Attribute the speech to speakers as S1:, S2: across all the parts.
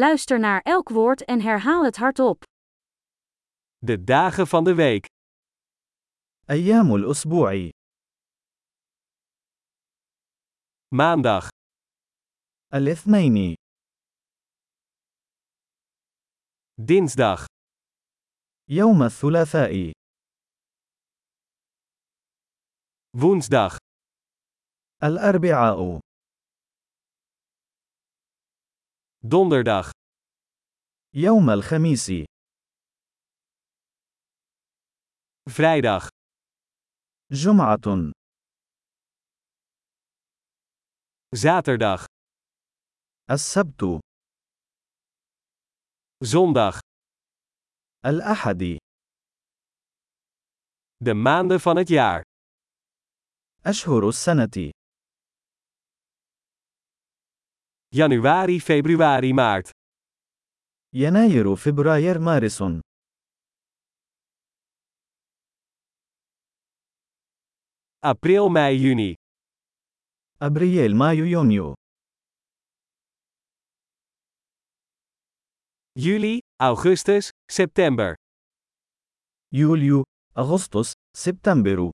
S1: Luister naar elk woord en herhaal het hardop.
S2: De dagen van de week.
S3: أيام الأسبوع:
S2: Maandag,
S3: الاثنين،
S2: dinsdag,
S3: يوم الثلاثاء،
S2: woensdag,
S3: الأربعاء،
S2: donderdag,
S3: يوم الخميس،
S2: vrijdag,
S3: جمعة،
S2: zaterdag,
S3: السبت،
S2: zondag.
S3: الأحد،
S2: De maanden van het jaar.
S3: أشهر السنة:
S2: Januari, februari, maart.
S3: يناير، فبراير، مارس،
S2: April, mei, juni.
S3: أبريل، مايو، يونيو،
S2: Juli, augustus, september.
S3: يوليو، أغسطس، سبتمبر،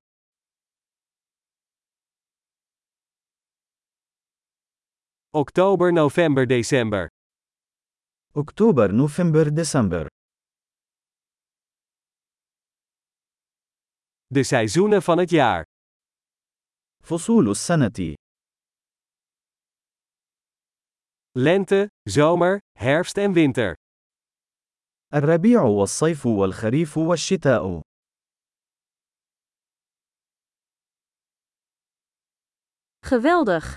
S2: Oktober, november, december.
S3: أكتوبر، نوفمبر، ديسمبر.
S2: De seizoenen van het jaar.
S3: فصول السنة:
S2: Lente, zomer, herfst en winter.
S3: الربيع والصيف والخريف والشتاء.
S1: Geweldig!